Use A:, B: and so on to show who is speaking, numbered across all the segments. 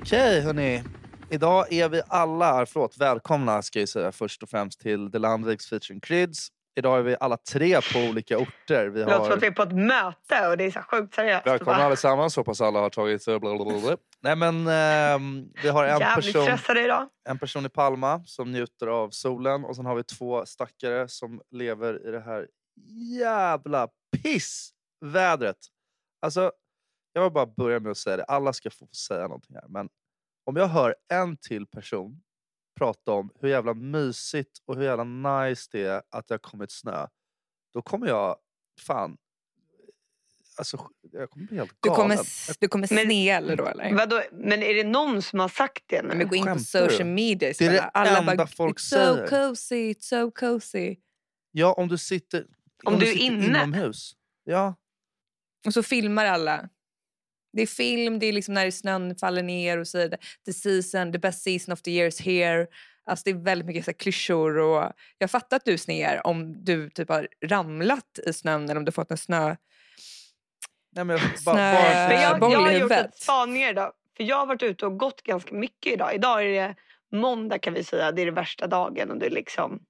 A: Okej, hörni. Idag är vi alla, förlåt, välkomna ska jag säga först och främst till The Landviks featuring Crids. Idag är vi alla tre på olika orter. Vi
B: Det låter som att vi
A: har...
B: är på ett möte och det är så här sjukt seriöst.
A: Välkomna
B: Bara,
A: allesammans, hoppas alla har tagit... eh, Blablabla. Nej men, ehm, vi har en
B: Jävligt
A: person,
B: stressade idag.
A: en person i Palma som njuter av solen och sen har vi två stackare som lever i det här jävla pissvädret. Alltså, jag vill bara börja med att säga det. Alla ska få säga någonting här. Men om jag hör en till person prata om hur jävla mysigt och hur jävla nice det är att det har kommit snö. Då kommer jag fan... Alltså, jag kommer bli helt
C: Du
A: galen.
C: kommer, du kommer
B: Men-
C: snea eller då eller?
B: Vadå? Men är det någon som har sagt det nu?
C: Nej, Men gå in på
A: Skämtar du?
C: social media
A: Det är det
C: istället. Alla
A: enda
C: bara,
A: folk
C: it's
A: säger."
C: so cozy, it's so cozy.
A: Ja, om du sitter,
B: Om du är
A: sitter
B: inne.
A: inomhus. Ja.
C: Och så filmar alla. Det är film, det är liksom när snön faller ner och så vidare. The season, the best season of the year is here. Alltså det är väldigt mycket så här klyschor och jag fattar att du snear om du typ har ramlat i snön eller om du fått en snö...
A: Nej, men jag, ba,
C: Snö-
A: bara,
B: Men jag,
C: boll i
B: jag har gjort
C: huvudet.
B: ett spaningar idag. För jag har varit ute och gått ganska mycket idag. Idag är det måndag kan vi säga. Det är den värsta dagen och det är liksom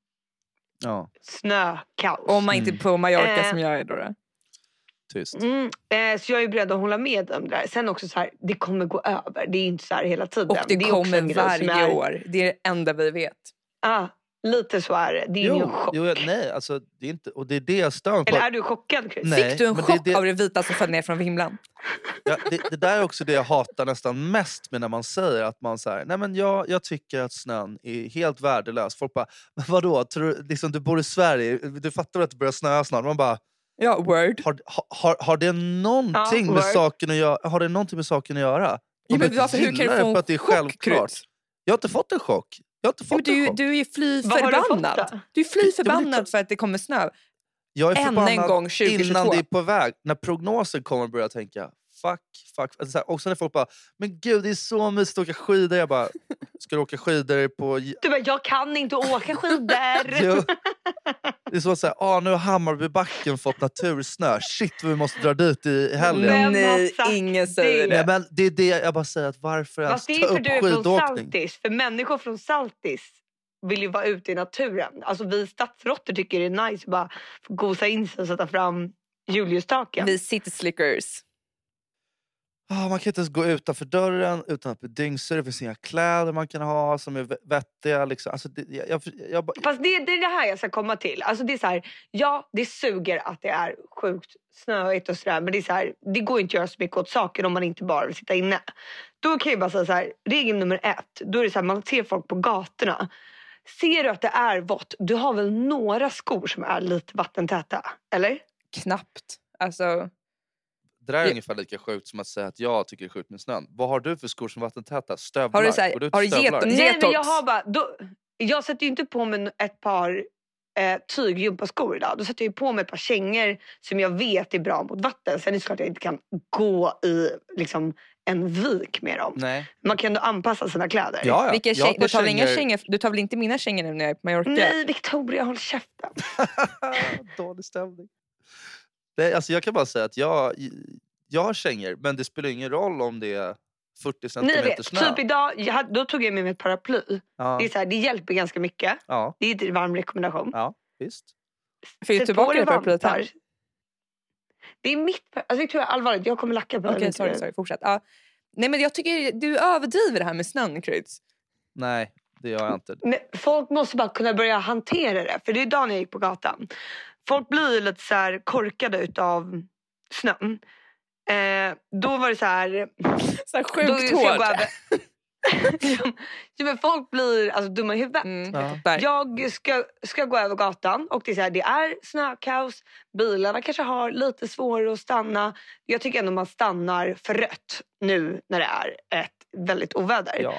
A: ja,
B: snökaos.
C: Om man inte är på Mallorca
B: Eh.
C: som jag är då. då.
A: tyst.
B: Mm, eh, så jag är ju beredd att hålla med om det där. Sen också så här, det kommer gå över. Det är inte så här hela tiden.
C: Och det,
B: är också en
C: kommer
B: grej som
C: varje
B: är-
C: år. Det är det enda vi vet.
B: Ja, lite så är det. Det är ju en chock.
A: jo, jag- nej, alltså, det är inte, och det är det jag stör mig på.
B: Eller är du chockad Chris?
A: Nej,
C: Fick du en
A: men det är
C: chock
A: det-
C: av det vita som föll ner från himlen?
A: Ja, det, det där är också det jag hatar nästan mest med när man säger att man så här, nej men jag, jag tycker att snön är helt värdelös. Folk bara, "Men vadå, tror du, liksom, du bor i Sverige, du fattar väl att det börjar snöa snart? Man bara,
C: Ja, word.
A: har, har- har, har det någonting med
B: word.
A: saken att göra? Har det någonting med saken att göra?
C: Ja,
A: De
C: men alltså, hur kan
A: gillar
C: du
A: det
C: få en
A: för att det är
C: chock,
A: självklart.
C: Kryds?
A: Jag har inte fått en chock. Jag har inte
C: Ja, men
A: fått en
C: du,
A: chock.
C: du är fly
B: Vad har du fått
C: förbannad.
B: då?
C: Du är fly
A: Ja, men det är klart.
C: förbannad för att det kommer snö.
A: Jag är
C: Än en
A: förbannad
C: gång 2022.
A: innan det är på väg. När prognosen kommer börjar jag tänka fuck, fuck. Alltså så här, och sen är folk bara “men gud det är så mysigt att åka skidor”. Jag bara “ska du åka skidor på...” J-
B: Du bara, jag kan inte åka skidor.
A: Jo. alltså, Det är så att säga, ah, nu har Hammarbybacken fått natursnö. Shit vad vi måste dra dit i, i helgen.
B: Vem har
C: Nej,
B: sagt
C: ingen
B: det?
C: säger det.
A: Nej, men det är det jag bara säger, att varför ens
B: Fast det
A: ta
B: är ju för
A: upp
B: du är från
A: skidåkning?
B: Saltis. För människor från Saltis vill ju vara ute i naturen. Alltså vi stadsråttor tycker det är nice att bara få gosa in sig och sätta fram Juliustaken.
C: Vi city slickers.
A: Ah, man kan inte ens gå utanför dörren utan att bli dyngsur. Det finns inga kläder man kan ha som är ve- vettiga. Liksom. Alltså, det, jag, jag, jag, bara-
B: Fast det, det är det här jag ska komma till. Alltså det är så här, ja, det suger att det är sjukt snöigt och sådär. Men det, är så här, det går inte att göra så mycket åt saker om man inte bara vill sitta inne. Då kan jag bara säga så här, regel nummer ett. Då är det så här, man ser folk på gatorna. Ser du att det är vått, du har väl några skor som är lite vattentäta? Eller?
C: Knappt. Alltså,
A: Det där är
C: Ja.
A: ungefär lika sjukt som att säga att jag tycker det är sjukt med snön. Vad har du för skor som är vattentäta? Stövlar?
C: Har du så här-
A: Går ut i
C: har du
A: stövlar?
C: geton-
B: Nej, men jag
C: Detox.
B: har bara... Då, jag sätter ju inte på mig ett par eh, tyggympaskor idag. Då sätter jag ju på mig ett par kängor som jag vet är bra mot vatten. Sen är det såklart att jag inte kan gå i liksom, en vik med dem.
A: Nej.
B: Man kan ändå anpassa sina kläder.
A: Ja, ja.
C: vilka
A: Jag har
C: käng-
A: ett par
C: du, tar väl inga
A: kängor-
C: kängor, du tar väl inte mina kängor nu när jag är på Mallorca?
B: Nej, Victoria, håll käften.
A: Dålig stämning. Nej, alltså jag kan bara säga att jag, jag har kängor, men det spelar ingen roll om det är 40
B: Ni
A: centimeter
B: vet,
A: snö.
B: typ idag, jag, hade- då tog jag med mig ett paraply.
A: ja,
B: Det, är så här, det hjälper ganska mycket.
A: ja,
B: Det är en varm rekommendation.
A: ja, visst.
C: Får jag
B: Sätt
C: tillbaka
B: på dig
C: det paraplyet
B: vantar.
C: här?
B: Det är mitt... par- Alltså, jag tror jag allvarligt, jag kommer lacka på
C: Okej,
B: den här
C: sorry,
B: intervjun.
C: sorry. Fortsätt. Ja. Nej, men jag tycker du överdriver det här med snön, Kryds.
A: Nej, det gör jag inte.
B: Men folk måste bara kunna börja hantera det. För det är idag när jag gick på gatan. Folk blir ju lite så här korkade utav snön. Eh, då var det så här...
C: Så här
B: då ska
C: sjukt
B: jag gå
C: hårt.
B: över- ja, men folk blir alltså, dumma i huvudet.
C: Mm,
A: Ja.
C: jag fattar.
B: Jag ska, ska gå över gatan och det är, så här, det är snökaos. Bilarna kanske har lite svårare att stanna. Jag tycker ändå man stannar för rött nu när det är ett väldigt oväder.
A: Ja.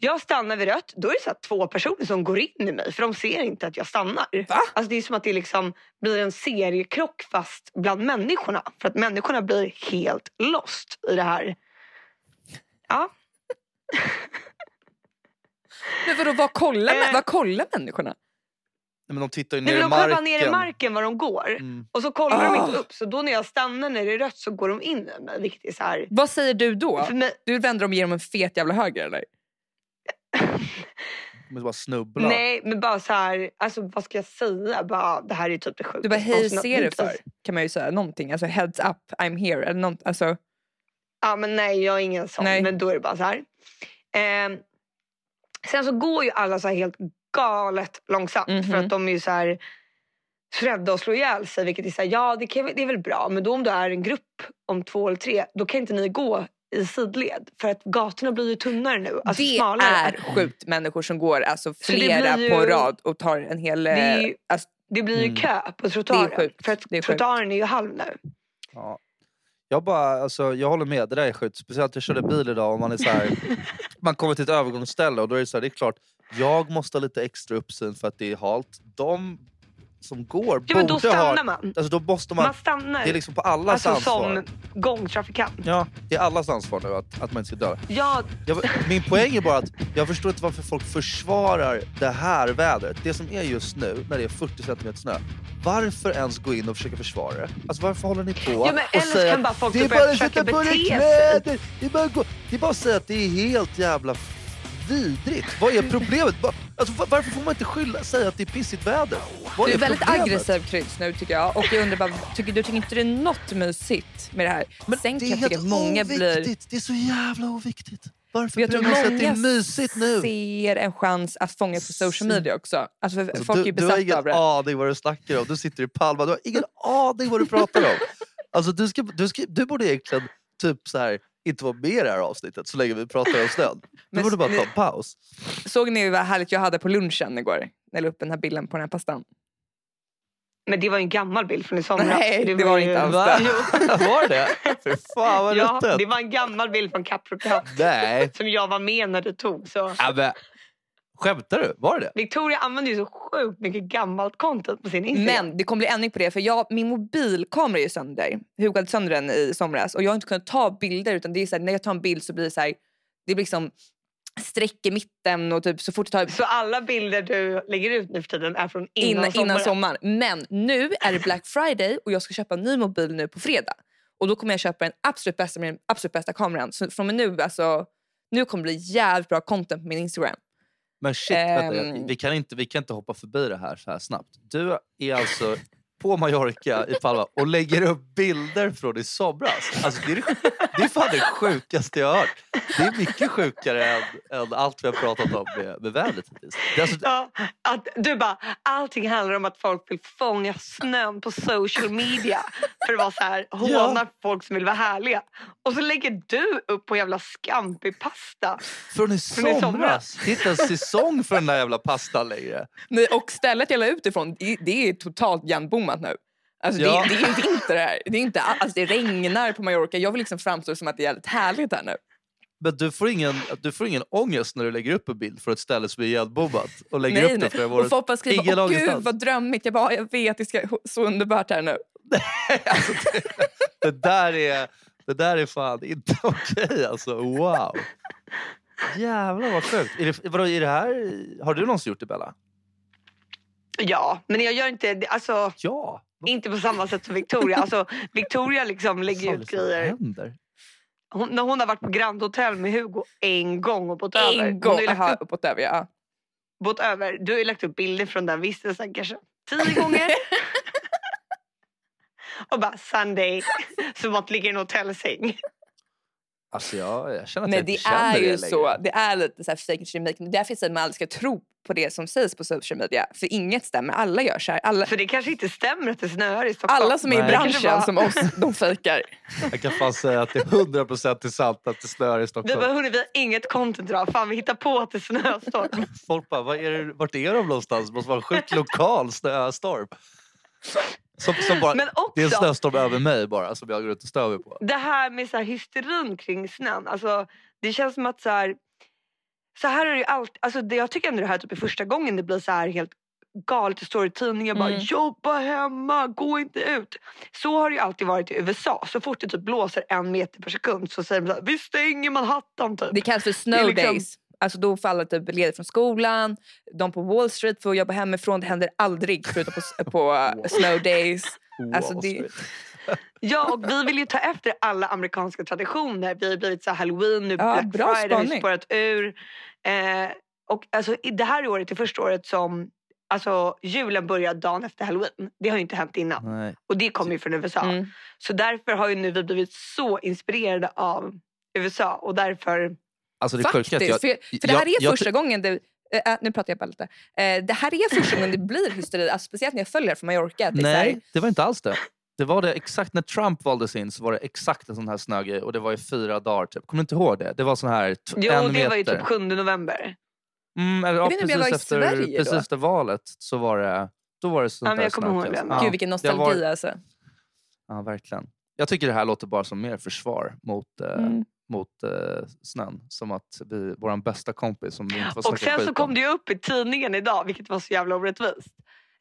B: Jag stannar vid rött, då är det så att två personer som går in i mig för de ser inte att jag stannar.
C: Va?
B: Alltså det är som att det liksom blir en seriekrock fast bland människorna. För att människorna blir helt lost i det här. Ja,
C: Men vadå, vad kollar,
B: Eh.
C: Eh. vad kollar människorna?
A: Nej, men de tittar ju ner
B: Nej, men
A: i
B: de kollar
A: marken.
B: bara ner i marken var de går.
A: Mm.
B: Och så kollar de inte
C: Ah.
B: upp. Så då när jag stannar när det är rött så går de in i mig. Vilket är så här...
C: Vad säger du då?
B: För mig,
C: Du vänder dem genom en fet jävla höger eller?
A: De kommer bara snubbla.
B: nej, men bara så här... Alltså vad ska jag säga? Bara, det här är typ det sjukaste.
C: Du bara hej
B: någonsin
C: ser
B: har-
C: du för? Kan man ju säga någonting. Alltså heads up I'm here. Eller nånt- alltså,
B: Ja, men nej, jag är ingen sån.
C: Nej.
B: Men då är det bara så här. Ehm, sen så går ju alla så här helt galet långsamt. För
C: Mhm.
B: att de är ju så här så rädda att slå ihjäl sig. Vilket är så här, ja det, kan, det är väl bra. Men då om du är en grupp om två eller tre. Då kan inte ni gå i sidled. För att gatorna blir ju tunnare nu. Alltså
C: det
B: smalare.
C: är sjukt människor som går alltså,
B: Så det
C: flera
B: blir
C: på
B: ju-
C: rad och tar en hel...
B: Det är
C: eh,
B: ju-
C: alltså,
B: Det blir ju
A: Mm.
B: kö på trottoaren.
C: sjukt.
B: För att
C: Det är sjukt.
B: trottoaren är ju halv nu.
A: Ja. Jag, bara, alltså, jag håller med, det där är sjukt. Speciellt jag körde bil idag och man, är så här, man kommer till ett övergångsställe och då är det så här, det är klart, jag måste ha lite extra uppsyn för att det är halt. De som går
B: Ja, men då
A: borde ha...
B: stannar man.
A: Alltså, då måste man,
B: Man stannar.
A: det är liksom på allas
B: alltså
A: ansvar.
B: som gångtrafikant.
A: Ja, det är allas ansvar nu att, att man inte ska dö.
B: Ja,
A: Jag, min poäng är bara att jag förstår inte varför folk försvarar det här vädret. Det som är just nu, när det är 40 cm snö. Varför ens gå in och försöka försvara det? Alltså varför håller ni på
B: Ja, men
A: och
B: eller så kan bara folk
A: det är
B: börja
A: bara att
B: försöka
A: sätta på dig
B: bete sig."
A: kläder, det är bara att gå. Det är bara att säga att det är helt jävla vidrigt. Vad är problemet? Va- Alltså, va- varför får man inte skylla, säga att det är pissigt väder? Vad
C: du är väldigt
A: problemet?
C: aggressiv Kryds nu tycker jag. Och jag undrar bara, tycker du tycker inte det är något mysigt med det här?
A: Men
C: Sen
A: det
C: kan
A: är
C: jag tycka
A: helt
C: att många
A: oviktigt.
C: blir...
A: Det är så jävla oviktigt. Varför
C: Jag
A: bryr
C: tror
A: man sig att det
C: många
A: är mysigt nu?
C: ser en chans att fånga på social media också. Alltså, för-
A: Alltså,
C: folk är
A: du,
C: ju
A: du har
C: besatta
A: ingen
C: av det.
A: aning vad du snackar om. Du sitter i Palma. Du har ingen aning vad du pratar om. Alltså, du, ska, du, ska, du borde egentligen typ så här, inte vara med i det här avsnittet så länge vi pratar om snön. Du
C: Men
A: borde bara
C: ni-
A: ta en paus.
C: Såg ni vad härligt jag hade på lunchen igår? När jag la upp den här bilden på den här pastan.
B: Men det var ju en gammal bild från i somras.
C: Nej, det var
B: ju-
C: inte alls
A: Va?
C: det.
A: Var det Fy fan vad
B: Ja,
A: ruttet.
B: det var en gammal bild från Capro Cup
A: Nej.
B: som jag var med när du tog. Så
A: Ja, men, skämtar du? Var det det?
B: Victoria använder ju så sjukt mycket gammalt content på sin Instagram.
C: Men det kommer bli ändring på det för jag, min mobilkamera är ju sönder. Hugo hade sönder den i somras och jag har inte kunnat ta bilder utan det är så här, när jag tar en bild så blir det så här, det blir liksom streck i mitten och typ så fort jag tar
B: Så alla bilder du lägger ut nu för tiden är från innan,
C: innan,
B: sommaren.
C: innan sommaren. Men nu är det Black Friday och jag ska köpa en ny mobil nu på fredag. Och då kommer jag köpa den absolut bästa med den absolut bästa kameran. Så från och med nu, alltså, nu kommer det bli jävligt bra content på min Instagram.
A: Men shit, vänta,
C: Ehm.
A: vi, kan inte, vi kan inte hoppa förbi det här så här snabbt. Du är alltså på Mallorca i Palma och lägger upp bilder från i somras. Alltså, det, är, det- det är fan det sjukaste jag har hört. Det är mycket sjukare än, än allt vi har pratat om med, med vädret hittills. Det är alltså,
B: Ja, att du bara, allting handlar om att folk vill fånga snön på social media för att vara så här, håna folk som vill vara härliga. Och så lägger du upp på jävla skampig pasta.
A: från i
B: i somras.
A: somras! Det är inte en säsong för den där jävla pastan längre.
C: Nej, och stället jag la ut ifrån, det, det är totalt igenbommat nu. Alltså,
A: Ja.
C: det, det är vinter här. Det, är inte, all- alltså, det regnar på Mallorca. Jag vill liksom framstå som att det är jävligt härligt här nu.
A: Men du får, ingen, du får ingen ångest när du lägger upp en bild från ett ställe som är igenbommat och lägger upp den
C: nej.
A: flera
C: Och
A: månader.
C: folk bara skriver,
A: Ingen
C: åh gud
A: ångestans."
C: vad drömmigt. Jag bara, jag vet, det ska så underbart här nu.
A: Alltså, det, det, där är, det där är fan inte okej alltså. Wow! Jävlar vad sjukt. Är det, vadå, är det här, har du någonsin gjort det Bella?
B: Ja, men jag gör inte, alltså
A: Ja! Vad
B: Inte på samma sätt som Victoria. Alltså, Victoria liksom lägger
A: fan
B: ut
A: är det som
B: grejer.
A: händer?
B: Hon, när hon har varit på Grand Hotel med Hugo en gång och bott över.
C: En
B: Hon
C: gång. Alltså-
B: har ju
C: Aha,
B: lagt upp,
C: uppåt över, ja.
B: bott över. Du har ju lagt upp bilder från den vistelsen kanske tio gånger. och bara Sunday. Som att ligga i en hotellsäng.
A: Alltså jag, jag känner att
C: Men
A: jag
C: det
A: inte känner
C: är ju
A: det
C: så. Det är lite så här fake it till you make it. Därför säger man aldrig ska tro på det som sägs på social media. För inget stämmer. Alla gör så här. Alla,
B: För det kanske inte stämmer att det snöar i Stockholm.
C: alla som är i
A: Nej.
C: branschen
B: Kanske bara-
C: som oss, de fejkar.
A: Jag kan fan säga att det är 100% är sant att det snöar i
B: Vi
A: Stockholm.
B: bara, hörni, vi har inget content idag. Fan, vi hittar på att det är snöstorm.
A: Folk bara, var är det, vart är de någonstans? Det måste vara en sjukt lokal snöstorm. Som, som bara,
B: Men
A: det är en
B: också,
A: snöstorm över mig bara som jag går ut och stör mig på.
B: det här med så här hysterin kring snön. Alltså, det känns som att så här, så här är det ju alltid. Alltså, det, jag tycker ändå det här typ är första gången det blir så här helt galet. Det står i tidningen bara
C: Mm.
B: jobba hemma, gå inte ut. Så har det ju alltid varit i USA. Så fort det typ blåser en meter per sekund så säger de så här, vi stänger Manhattan typ.
C: Det kallas för
B: Det är
C: snow
B: liksom-
C: days. Alltså då får alla typ ledigt från skolan, de på Wall Street får jobba hemifrån. Det händer aldrig förutom på, på eh,
A: Wow.
C: snow days. Alltså,
A: Wall
C: det-
A: Street.
B: Ja, och vi vill ju ta efter alla amerikanska traditioner. Vi har blivit så här halloween nu,
C: Ja,
B: Black
C: bra
B: Friday har ju
C: spaning.
B: spårat ur. Eh, och alltså, i det här året är första året som alltså, julen börjar dagen efter halloween. Det har ju inte hänt innan.
A: Nej.
B: Och det kommer ju från USA.
C: Mm.
B: Så därför har ju nu vi blivit så inspirerade av USA. Och därför,
A: Alltså det är sjukt
C: Faktiskt,
A: att jag...
C: för, för det
A: jag-
C: här är
A: jag-
C: första gången det, eh, nu pratar jag bara lite. Eh, det här är första gången det blir hysteri, alltså, speciellt när jag följer från Mallorca. Att det är så här,
A: Nej, det var inte alls det. Det var det exakt när Trump valdes in så var det exakt en sån här snögrej och det var i fyra dagar typ. Kommer du inte ihåg det? Det var sån här t-
B: jo,
A: en
B: det
A: meter.
B: var ju typ 7 november.
A: Mm, eller, ja,
C: vet inte om
A: precis,
C: jag var i
A: efter,
C: Sverige då.
A: precis efter valet så var det... Då var det sånt
B: Ja, men
A: där
B: jag kommer ihåg
A: snökaos.
B: det.
A: Ja,
C: Gud vilken
A: det har
C: nostalgi
A: varit- eh,
C: alltså.
A: Ja, verkligen. Jag tycker det här låter bara som mer försvar mot, eh,
C: Mm.
A: mot eh, snön. Som att vi, vår bästa kompis som vi inte får
B: Och
A: snacka
B: sen
A: skit
B: så kom
A: om.
B: det ju upp i tidningen idag, vilket var så jävla orättvist.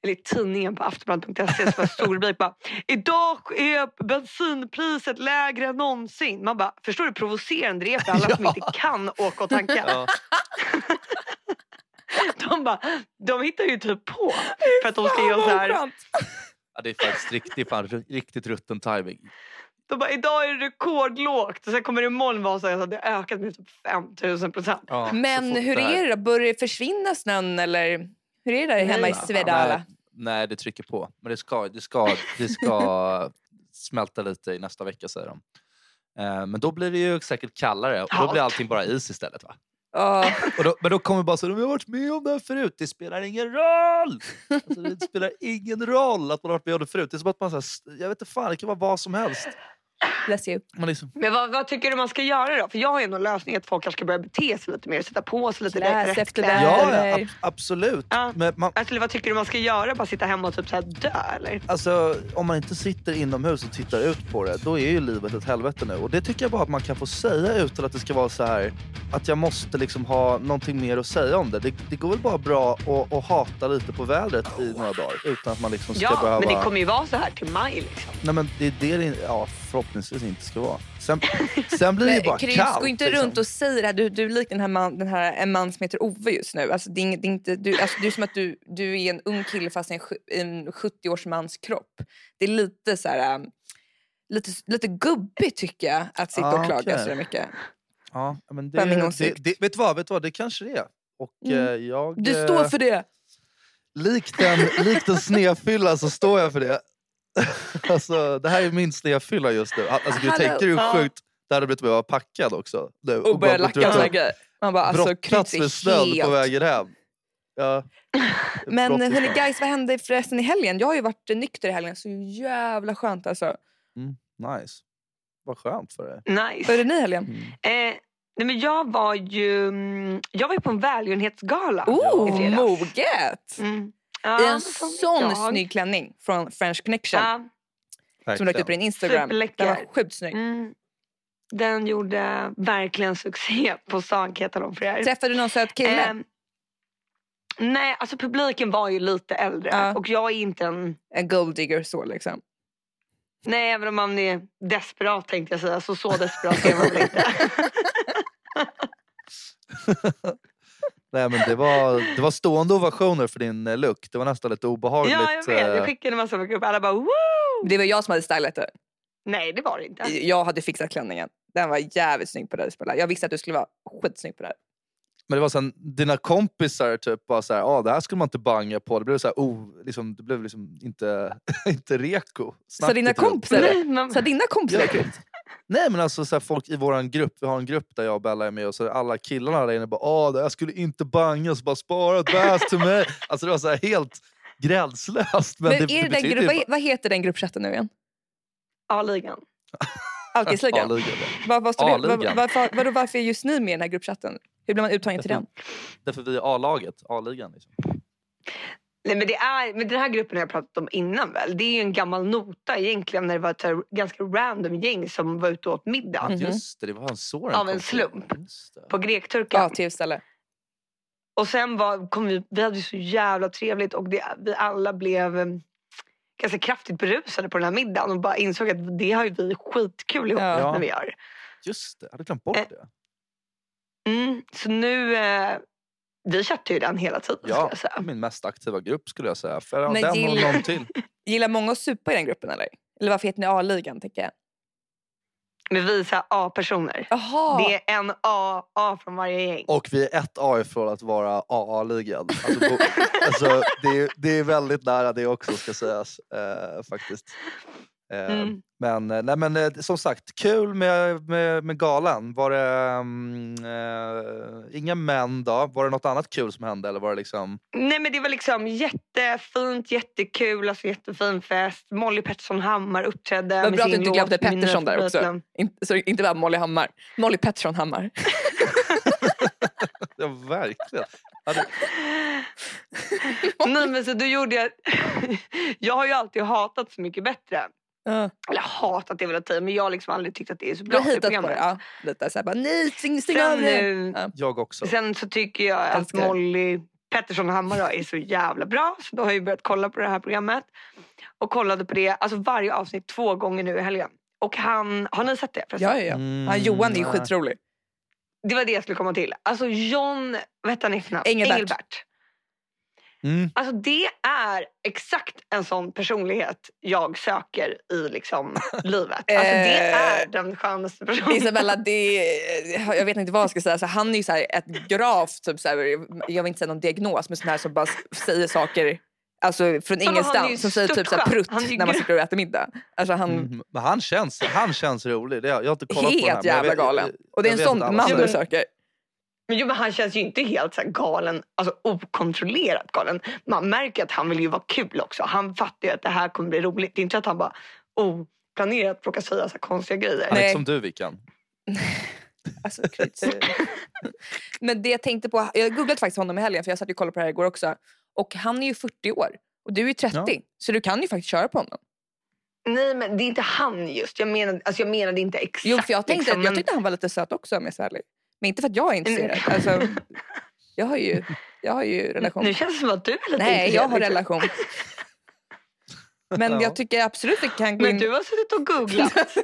B: Eller i tidningen på aftonbladet.se så E, var det stor rubrik bara Idag är bensinpriset lägre än någonsin. Man bara, förstår du hur provocerande det är för alla som
A: Ja.
B: inte kan åka och tanka?
A: Ja,
B: De bara, de hittar ju typ på för att de ska göra så här.
A: ja, det är faktiskt riktigt, fan, riktigt rutten timing.
B: De bara, idag är det rekordlågt och sen kommer det imorgon vara så här, så att det har ökat med typ 5000 procent.
A: Ja, så
C: Men
A: fort
C: hur
A: här-
C: är det då? Börjar det försvinna snön eller hur är det där
B: Nej.
C: hemma i
B: Ja,
C: Svedala?
A: nej, nej, det trycker på. Men det ska, det ska, det ska smälta lite i nästa vecka säger de. Eh, Men då blir det ju säkert kallare och då blir
B: Halt.
A: allting bara is istället. Va?
C: Ja,
A: Och då, men då kommer bara så, "Men jag har varit med om det här förut, det spelar ingen roll! Alltså, det spelar ingen roll att man har varit med om det förut. Det är som att man, så här, s- jag vet inte fan, det kan vara vad som helst.
C: bless you.
A: Man liksom,
B: Men vad, vad tycker du man ska göra då? För jag har ju någon lösning att folk kanske ska börja bete sig lite mer, sätta på sig lite
C: Läs
B: rätt
C: efter
B: kläder.
C: det.
A: ja, ja,
C: Eller-
A: ab- absolut.
B: Ja.
A: Men man,
B: Alltså, eller vad tycker du man ska göra? Bara sitta hemma och typ så här dö eller?
A: Alltså, om man inte sitter inomhus och tittar ut på det, då är ju livet ett helvete nu. Och det tycker jag bara att man kan få säga utan att det ska vara så här att jag måste liksom ha någonting mer att säga om det. Det, det går väl bara bra att, att hata lite på vädret i några dagar utan att man liksom ska
B: Ja,
A: behöva...
B: men det kommer ju vara så här till maj liksom.
A: Nej men det är det det in- ja, förhoppningsvis inte ska vara. Sen, sen blir det ju bara
C: Kryss,
A: kallt.
C: gå inte
A: liksom.
C: runt och säg det här. Du, du är lik den här, man, den här en man som heter Ove just nu. Alltså, det är, ing- det är inte, du, alltså, du är som att du, du är en ung kille fast i en, sj- en 70-årsmans kropp. Det är lite så här... ähm, Lite, lite gubbigt tycker jag att sitta
A: Ah,
C: och klaga
A: okej.
C: så där mycket.
A: Ja, men
C: Vem min
A: det, det,
C: åsikt?
A: det, vet du vad, vet du vad, det kanske det är. Och
C: Mm.
A: eh, jag...
C: Du
A: eh,
C: står för det!
A: Likt en, likt en snefylla så står jag för det. alltså, det här är min snefylla just nu. Alltså, du
C: Hallå,
A: tänker hur
C: ja.
A: sjukt det hade blivit att vara packad också. Nu,
C: Och börjar
A: bara gått runt
C: lacka
A: och
C: såna här grejer. Man bara alltså
A: brottats
C: Kryss
A: med snön
C: är
A: på
C: helt
A: vägen hem. Ja.
C: Men
A: Brott i
C: hörni
A: snön.
C: guys, vad hände förresten i helgen? Jag har ju varit eh, nykter i helgen, så jävla skönt alltså.
A: Nice. Vad skönt för dig.
B: Nice.
C: Vad gjorde ni i helgen?
A: Mm.
B: Eh, nej, men jag var ju mm, jag var ju på en välgörenhetsgala.
A: I
C: Oh,
B: fredags.
C: moget!
B: Mm.
C: I
B: Ja,
C: en
B: som
C: sån
B: jag.
C: snygg klänning från French Connection
B: Ja, Alltså,
C: som du lagt upp på din Instagram.
B: Superläcker.
C: Den var sjukt snygg.
B: mm. Den gjorde verkligen succé på stan kan jag tala om för er.
C: Träffade du någon söt kille?
B: Eh, nej, alltså publiken var ju lite äldre
C: Ja.
B: och jag är inte en
C: en gold digger så liksom.
B: Nej, även om man är desperat tänkte jag säga. Så så desperat är man väl inte.
A: Nej, men det, var, det var stående ovationer för din eh, look. Det var nästan lite obehagligt.
B: ja, jag vet.
A: eh,
B: Jag skickade en massa på grupp. Alla bara woo! Oh.
C: Det var jag som hade stylat det.
B: Nej, det var det inte.
C: Jag hade fixat klänningen. Den var jävligt snygg på dig Isabella. Jag visste att du skulle vara skitsnygg på det. här.
A: Men det var sen dina kompisar typ bara så här, ah, det här skulle man inte banga på. Det blev så här, oh, liksom, det blev liksom inte, inte reko.
C: Så dina
A: Snacket runt.
C: kompisar det?
B: men,
C: Så dina kompisar
A: Ja.
C: gick ut?
A: Nej men alltså så här, folk i våran grupp, vi har en grupp där jag och Bella är med och så är alla killarna där inne bara ah, det här skulle inte banga, så bara spara ett bärs till mig. Alltså det var så här helt gränslöst. Men,
C: Men
A: det,
C: är det
A: det
C: den
A: betyder
C: grupp,
A: ju
C: vad, vad heter den gruppchatten nu igen?
B: A-ligan.
A: bara-
C: Alkisligan?
A: A-ligan, ja.
C: Var, var, står du- var,
A: A-ligan.
C: varför, vadå, varför är just ni med i den här gruppchatten? Hur blir man uttagen till den?
A: Därför vi är A-laget, A-ligan. Liksom.
B: Nej, men, det är, men den här gruppen har jag pratat om innan väl. Det är ju en gammal nota egentligen när det var ett så här ganska random gäng som var ute och åt middag
A: Ja,
C: Mhm.
A: Just det, det var en såren
B: Av en
A: kom till.
B: slump.
A: Just det.
B: på
C: Ja,
B: grekturkan.
C: till ställe.
B: Och sen var, kom vi, vi hade ju så jävla trevligt och det, vi alla blev eh, ganska kraftigt berusade på den här middagen och bara insåg att det har ju vi skitkul ihop
C: Ja.
B: när vi gör.
A: Just det, jag hade glömt bort
B: Eh,
A: det.
B: Mm, så nu, eh, vi köpte ju den hela tiden.
A: Ja,
B: skulle jag säga.
A: min mest aktiva grupp skulle jag säga. För ja,
C: Men
A: den
C: gillar-
A: och någon till.
C: Gillar många att supa i den gruppen eller? Eller varför heter ni A-ligan tänker jag?
B: Men vi är så här A-personer.
C: Jaha!
B: Det är en A, A från varje gäng.
A: Och vi är ett A ifrån att vara AA-ligan. Alltså, bo- alltså, det, är- det är väldigt nära det också ska sägas eh, faktiskt. Eh,
B: Mm.
A: Men, eh, nej, men eh, som sagt, kul med, med, med galan. Var det mm, eh, inga män då? Var det något annat kul som hände? Eller var det liksom...
B: Nej men det var liksom jättefint, jättekul, alltså jättefin fest. Molly Pettersson Hammar uppträdde
C: Vad
B: med
C: bra att
B: sin
C: du inte
B: låt
C: glömde
B: Min nya
C: Pettersson där också.
B: favoritlåt.
C: In, så inte bara Molly Hammar. Molly Pettersson Hammar.
A: Ja, verkligen. Ja, det-
B: Nej men så då gjorde jag... jag har ju alltid hatat Så mycket bättre.
C: Ja.
B: Eller hatat är väl att säga, men jag har liksom aldrig tyckt att det är så
C: Du
B: bra.
C: har hittat på det. Ja, lite så här bara, nej, stäng, stäng av
B: Sen,
C: det.
B: nu,
C: Ja.
A: jag också.
B: sen så tycker jag att
C: Älskar det.
B: Molly Pettersson Hammar då är så jävla bra. Så då har jag ju börjat kolla på det här programmet. Och kollade på det, alltså varje avsnitt två gånger nu i helgen. Och han, har ni sett det? förresten?
C: Ja, ja, ja.
A: Mm,
C: Han Johan är ju
A: nej.
C: skitrolig.
B: Det var det jag skulle komma till. Alltså John, vad hette han i efternamn?
C: Engelbert.
A: Mm.
B: Alltså det är exakt en sån personlighet jag söker i liksom livet. Alltså det
C: Eh,
B: är den skönaste personen.
C: Isabella, det, jag vet inte vad jag ska säga. Så han är ju så här ett gravt, typ så här, jag vill inte säga någon diagnos, men sån här som bara säger saker alltså, från
B: han är ju
C: ingenstans. Som säger typ så här
B: störtskön.
C: prutt
B: Han är ju
C: när man
B: grym.
C: sitter och äter middag. Alltså, han,
A: Mm. Men han känns, han känns rolig. Det, har- jag har inte kollat på det här,
C: Helt
A: men jag
C: jävla
A: vet-
C: galen. Och det är
A: jag
C: en
A: vet
C: sån
A: inte alla
C: man
A: som
C: du
A: är-
C: söker.
B: Men, jo, men han känns ju inte helt så här galen, alltså okontrollerat galen. Man märker att han vill ju vara kul också. Han fattar ju att det här kommer bli roligt. Det är inte att han bara oplanerat råkar säga så här konstiga grejer.
A: Han är
C: Nej.
A: inte som du Vickan.
C: Alltså, kryds. Men det jag tänkte på, jag googlade faktiskt honom i helgen för jag satt ju och kollade på det här igår också. Och han är ju 40 år och du är ju 30
A: Ja.
C: så du kan ju faktiskt köra på honom.
B: Nej men det är inte han just. Jag menade, alltså jag menade inte exakt.
C: Jo, för jag, tänkte,
B: liksom,
C: jag
B: men-
C: tyckte han var lite söt också om jag ska vara ärlig. Men inte för att jag är intresserad. Alltså, jag, har ju, jag har ju relation.
B: Nu känns det som att du är lite
C: Nej, jag
B: intresserad,
C: har
B: liksom.
C: relation. Men
A: Ja.
C: jag tycker absolut vi kan gå
B: Men
C: in.
B: du har suttit och googlat.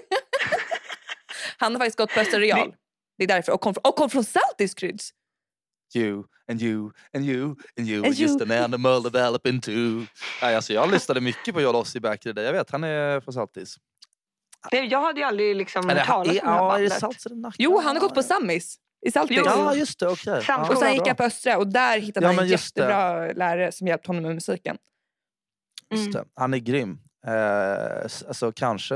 C: Han har faktiskt gått på Östra Real. Det är därför. Och kom, och kom från Saltis kryds.
A: You and you and you and you
C: And
A: are just
C: you.
A: an animal developing too. Nej, alltså jag lyssnade mycket på Joel Ossie back in the day. Jag vet, han är från Saltis.
B: Nej, jag hade ju aldrig
C: Mm,
B: liksom
A: Eller,
B: hört talas om det här
A: ja, är det
B: bandet.
A: Saltis eller Nacka?
C: Jo, han har gått på Sammis i Saltis.
B: Jo.
A: Ja, just det. Okej.
B: Samskola.
C: Och
A: Ja,
C: sen gick
A: bra.
C: han på Östra och där hittade
A: Ja,
C: han
A: men
C: en
A: just det.
C: jättebra lärare som hjälpte honom med musiken.
A: Just det. Han är grym. Eh, s- alltså, kanske,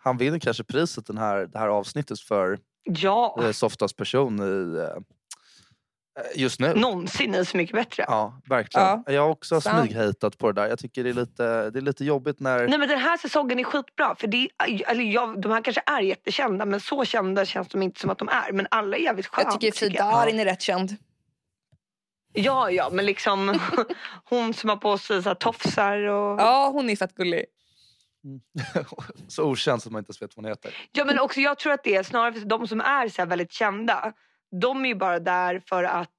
A: han vinner kanske priset den här, det här avsnittet för
B: Ja,
A: eh, softast person i, eh, just nu.
B: någonsin är så mycket bättre.
A: Ja, verkligen. Jag har också
C: Sant.
A: smyghejtat på det där. Jag tycker det är lite, det är lite jobbigt när...
C: Mm.
B: Nej men den här säsongen är skitbra. För det är, eller jag, de här kanske är jättekända men så kända känns de inte som att de är. Men alla är jävligt sköna.
C: jag tycker Frida
B: jag.
C: Darin är rätt känd.
B: Ja, ja men liksom hon som har på sig så här tofsar och... Ja.
C: Ja, hon är fett gullig.
A: så okänd så att man inte ens vet vad hon heter.
B: men också jag tror att det är snarare för de som är så här väldigt kända. De är ju bara där för att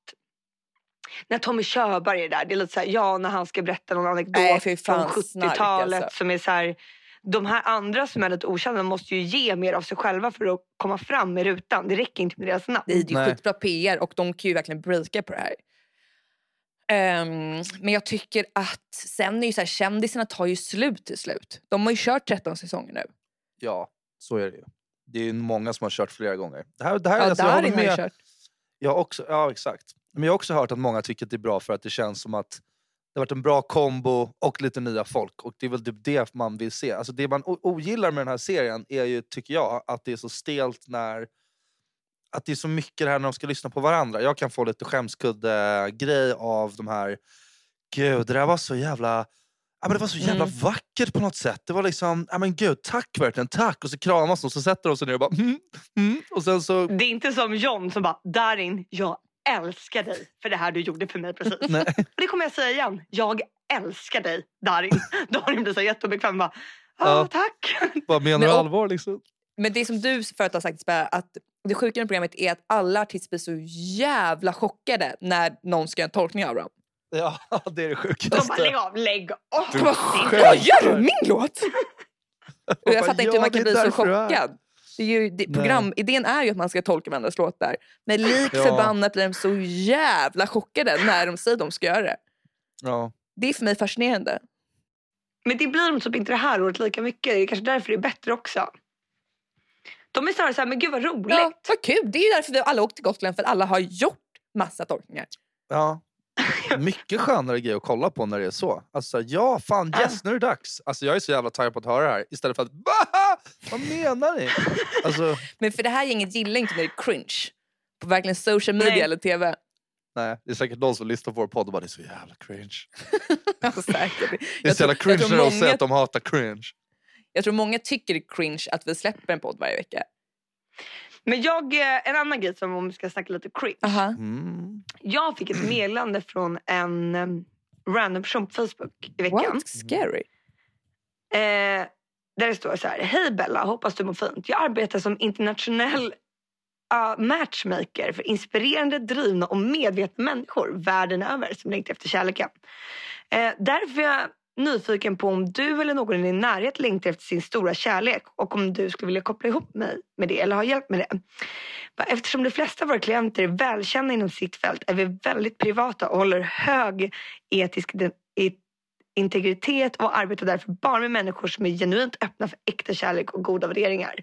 B: när Tommy Körberg är där, det är lite så här, ja när han ska berätta någon anekdot
C: Nej, fy
B: från
C: fan, snark,
B: 70-talet
C: alltså.
B: som är så här, de här andra som är lite okända måste ju ge mer av sig själva för att komma fram i rutan. Det räcker inte med deras namn.
C: Det är ju
A: Nej.
C: skitbra PR och de kan ju verkligen breaka på det här. Ehm, men jag tycker att sen är ju så här, kändisarna tar ju slut till slut. De har ju kört 13 säsonger nu.
A: Ja, så är det ju. Det är ju många som har kört flera gånger. Det här, det här,
C: Ja,
A: alltså, jag
C: Darin
A: håller
C: har ju
A: med.
C: kört.
A: Jag har också, ja, exakt. Men jag har också hört att många tycker att det är bra för att det känns som att det har varit en bra kombo och lite nya folk. Och det är väl typ det man vill se. Alltså det man o- ogillar med den här serien är ju, tycker jag, att det är så stelt när... Att det är så mycket det här när de ska lyssna på varandra. Jag kan få lite skämskudde-grej av de här... Gud, det där var så jävla... Ja, men det var så jävla
C: Mm.
A: vackert på något sätt. Det var liksom, ja men gud, tack verkligen, tack! Och så kramas de och så sätter de sig ner och bara mm, mm. Och sen så
B: Det är inte som John som bara, Darin, jag älskar dig för det här du gjorde för mig precis.
A: Nej.
B: Och det kommer jag säga igen. Jag älskar dig, Darin. Darin blir så jätteobekväm. Bara,
A: Ja.
B: ja, tack.
A: Vad menar
C: Men
A: du
C: och-
A: allvar liksom?
C: Men det som du förut har sagt Isabella, att det sjuka med programmet är att alla artister blir så jävla chockade när någon ska göra en tolkning av dem.
A: Ja, det är det
B: De bara, lägg
A: sjukaste.
B: av, lägg av.
A: Du
C: De bara,
A: skämtar.
C: "Vad gör du min låt? Och
A: bara,
C: jag fattar inte
A: "Ja,
C: hur man
A: det är
C: kan bli så
A: därför du är här."
C: chockad. Det är ju, det,
A: Nej.
C: programidén är ju att man ska tolka varandras låtar. Men lik
A: Ja.
C: förbannat blir de så jävla chockade när de säger att de ska göra det.
A: Ja.
C: Det är för mig fascinerande.
B: Men det blir de typ inte det här året lika mycket. Det är kanske därför det är bättre också. De är snarare så här, men gud vad roligt.
C: Ja, vad kul! Det är ju därför vi alla åkt till Gotland, för att alla har gjort massa tolkningar.
A: ja. Mycket skönare grej att kolla på när det är så. Alltså så här, ja fan
B: Ja.
A: yes nu är det dags. Alltså jag är så jävla taggad på att höra det här istället för att Baha! vad menar ni? Alltså
C: Men för det här gänget gillar inte när det är cringe. På verkligen social media
B: Nej.
C: eller tv.
A: nej, det är säkert någon som lyssnar på vår podd och bara det är så jävla cringe.
C: Alltså, säkert.
A: Det är
C: Jag
A: så jävla
C: tror-
A: cringe
C: jag tror
A: när de
C: många-
A: säger att de hatar cringe.
C: Jag tror många tycker det är cringe att vi släpper en podd varje vecka.
B: Men jag, eh, en annan grej som om vi ska snacka lite cringe.
C: Aha.
A: Mm.
B: Jag fick ett meddelande från en em, random person på Facebook i veckan.
C: What?
A: Mm.
C: Scary.
B: Eh, där det står så här. Hej Bella, hoppas du mår fint. Jag arbetar som internationell ah, matchmaker för inspirerande, drivna och medvetna människor världen över som längtar efter kärleken. Eh, därför är jag nyfiken på om du eller någon i din närhet längtar efter sin stora kärlek och om du skulle vilja koppla ihop mig med det eller ha hjälp med det. Va, Eftersom de flesta av våra klienter är välkända inom sitt fält är vi väldigt privata och håller hög etisk ide- i- integritet och arbetar därför bara med människor som är genuint öppna för äkta kärlek och goda värderingar.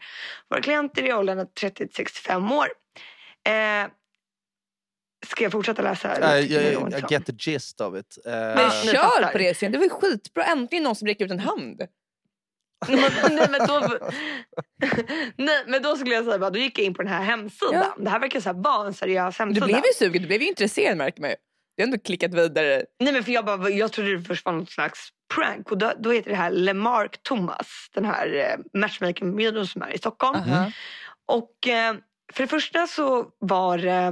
B: Våra klienter är i åldern 30 till 65 år. Eh, ska jag fortsätta läsa? eller
A: I,
B: tycker ni det var
A: I, I
B: intressant?
A: get the gist of it. Eh,
C: Men
B: ni
C: kör
B: fattar.
C: på det sen. Det var ju skitbra. Äntligen någon som räcker ut en hand.
B: Men- nej, men då, nej men då skulle jag säga bara, då gick jag in på den här hemsidan. Det här verkar så här vara en seriös
C: Du
B: hemsida.
C: blev ju sugen, du blev ju intresserad märker man ju. Du har ändå klickat vidare.
B: Nej men för jag, bara, jag trodde det först var något slags prank. Och då, då heter det här Lemark Thomas. Den här eh, matchmaking-byrån som är i Stockholm.
C: Aha.
B: Och eh, för det första så var eh,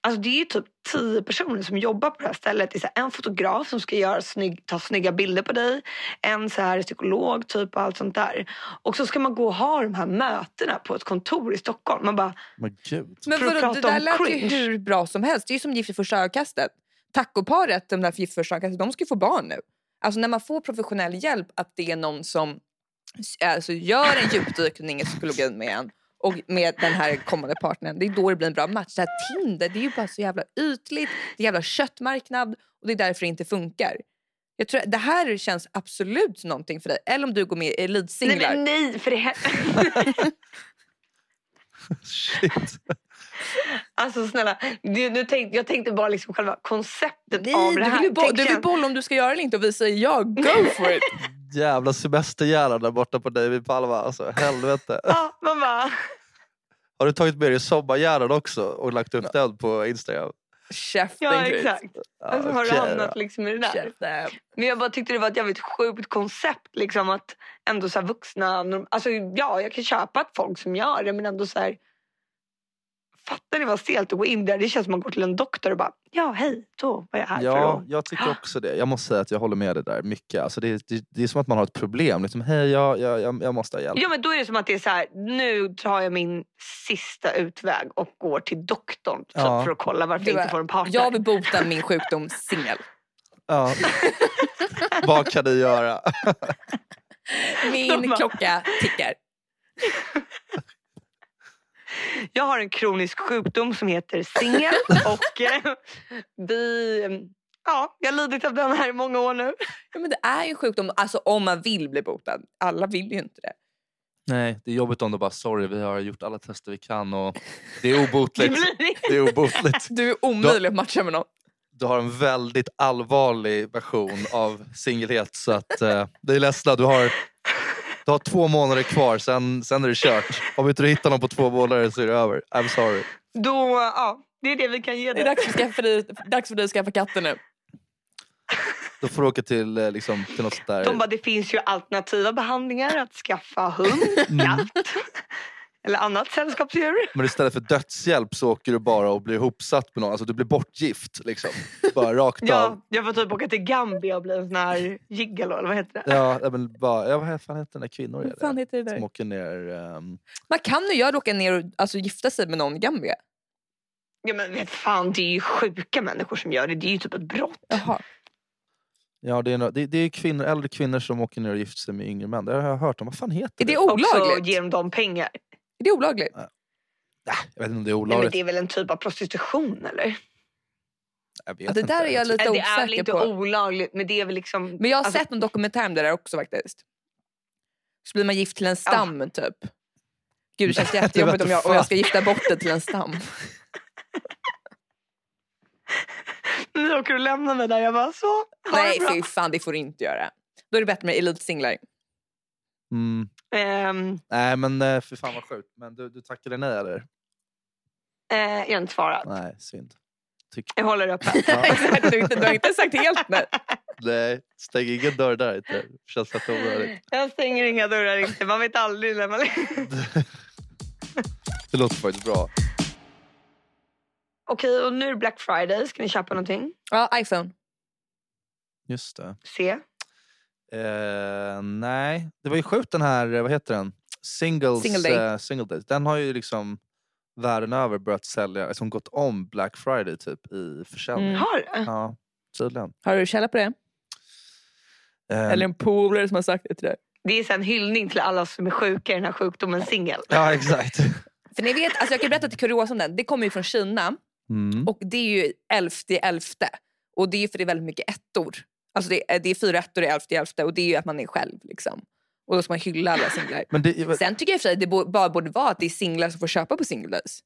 B: Alltså det är ju typ tio personer som jobbar på det här stället. Det är så här, en fotograf som ska göra snygg, ta snygga bilder på dig. En så här psykolog typ och allt sånt där. Och så ska man gå och ha de här mötena på ett kontor i Stockholm. Man bara,
A: Men gud.
C: Men
B: För att
C: vadå, det
B: prata
C: där
B: om
C: lät ju
B: cringe.
C: hur bra som helst. Det är ju som Gift i första ögonkastet. Tacoparet, de där för Gift i första ögonkastet, de ska ju få barn nu. Alltså när man får professionell hjälp att det är någon som s- alltså, gör en djupdykning i psykologin med en och med den här kommande partnern. Det är då det blir en bra match. Det här Tinder, det är ju bara så jävla ytligt. Det är jävla köttmarknad och det är därför det inte funkar. Jag tror att det här känns absolut någonting för dig. Eller om du går med i
B: nej,
C: Elitsinglar.
B: men nej för det här-
A: Shit.
B: Alltså snälla, nu, nu tänk, jag tänkte bara liksom själva konceptet av det
C: Nej, du
B: här.
C: vill, ju bo-
B: Tänk
C: du vill
B: sen-
C: bolla om du ska göra det eller inte och vi säger ja, go for it!
A: Jävla semesterhjärna där borta på David Palma. Alltså, helvete.
B: Ja, man bara,
A: Har du tagit med dig sommarhjärnan också och lagt upp den på Instagram?
C: Käften
B: ja
C: Gry.
B: exakt.
A: Ja,
B: Alltså, har du
A: okej
B: hamnat
A: då.
B: liksom i det där?
C: Käften.
B: Men jag bara tyckte det var ett jävligt sjukt koncept. Liksom, att ändå så här vuxna... norm- Alltså, ja, jag kan köpa att folk som gör det, men ändå så här... Fattar ni vad stelt att gå in där? Det känns som att man går till en doktor och bara ja, hej, då var jag här för
A: Ja,
B: att...
A: jag tycker också det. Jag måste säga att jag håller med dig där mycket. Alltså det, det, det är som att man har ett problem. Liksom, Hej, jag, jag, jag, jag måste ha hjälp.
B: Ja, men då är det som att det är så här, nu tar jag min sista utväg och går till doktorn typ,
A: Ja.
B: för att kolla varför
C: Du
B: jag
C: är-
B: inte får en partner.
C: Jag vill bota min sjukdom singel.
A: Ja. Vad kan du göra?
C: Min klocka tickar.
B: Jag har en kronisk sjukdom som heter singel och eh, vi... Ja, jag har lidit av den här i många år nu.
C: Ja, men det är ju en sjukdom alltså, om man vill bli botad. Alla vill ju inte det.
A: Nej, det är jobbigt om du bara sorry, vi har gjort alla tester vi kan och det är
B: Det
A: obotligt.
B: blir
A: Det är obotligt.
C: Du är omöjlig att matcha med någon.
A: Du har en väldigt allvarlig version av singelhet så att eh, vi är ledsna. Du har, du har två månader kvar, sen, sen är det kört. Om inte du hittar någon på två månader så är det över. I'm sorry.
B: Då, ja, det är det vi kan ge
C: Det är
B: dig.
C: dags för, skaffa dig, dags för dig att skaffa katter nu.
A: Då får du åka till, eh, liksom, till något sånt där...
B: De bara, det finns ju alternativa behandlingar. Att skaffa hund,
C: Mm.
B: katt eller annat sällskapsdjur.
A: Men istället för dödshjälp så åker du bara och blir ihopsatt med någon. Alltså du blir bortgift liksom. Bara rakt av.
B: Ja, jag får typ åka till Gambia och bli en sån här gigolo eller vad heter det?
A: Ja, nej, men bara, ja, vad fan heter den där kvinnor är
C: Vad
A: det?
C: fan heter det
A: Som
C: där?
A: åker ner... ehm,
C: Man kan ju göra åka ner och alltså, gifta sig med någon i Gambia.
B: Ja men vet fan, det är ju sjuka människor som gör det. Det är ju typ ett brott.
C: Jaha.
A: ja, det är, nå- det, det är kvinnor, äldre kvinnor som åker ner och gifter sig med yngre män. Det har jag hört om. Vad fan heter
C: Är det
B: Och så
C: olagligt?
B: ger de dem pengar.
C: Är det olagligt?
A: Nah, jag vet inte om det är
B: Nej, men
A: olagligt.
B: det är väl en typ av prostitution eller?
A: Jag vet
C: Ja, det
A: inte.
C: där är jag lite
B: Nej, det är väl
C: osäker
B: inte
C: på.
B: olagligt men det är väl liksom...
C: Men jag har
B: alltså-
C: sett en dokumentär om det där också faktiskt. Så blir man gift till en stam typ. Gud det känns
A: Det vete
C: jättejobbigt om jag, om jag ska
A: fan.
C: gifta bort det till en stam.
B: Nu åker du lämna mig där. Jag bara så, ha det
C: Nej
B: bra.
C: fy fan det får du inte göra. Då är det bättre med elitsinglar.
A: Mm.
B: Ehm,
A: Nej, men eh, för fan vad sjukt. Men du, du tackade nej eller?
B: eh, jag har inte svarat.
A: Nej, synd. Tyck...
B: Jag håller öppet.
A: Ja.
C: Exakt, du, har inte- du har inte sagt helt nej.
A: nej, stäng ingen dörr där inte. Känns fett onödigt.
B: Jag stänger inga dörrar inte. Man vet aldrig när man...
A: det låter faktiskt bra.
B: Okej, och nu är det Black Friday. Ska ni köpa någonting?
C: Ja, iPhone.
A: Just det.
B: Se.
A: Eh, nej, det var ju sjukt den här, eh, vad heter den? Singles,
C: Single day.
A: eh, single days. Den har ju liksom världen över börjat sälja, liksom gått om Black Friday typ i försäljning.
C: Mm.
B: Har
A: Ja, tydligen.
C: Har du källa på det?
A: Eh,
C: Eller en polare som har sagt det till dig?
B: Det är så en hyllning till alla som är sjuka i den här sjukdomen singel.
A: Ja, exakt.
C: För ni vet, alltså jag kan berätta till kuriosa om den. Det kommer ju från Kina
A: Mm.
C: och det är ju elfte i elfte. Och det är ju för det är väldigt mycket ettor. Alltså det är, det är fyra ettor i elfte i elfte och det är ju att man är själv liksom. Och då ska man hylla alla singlar.
A: Men, det, men,
C: Sen tycker jag i och för sig att det bo- bara borde vara att det är singlar som får köpa på single days.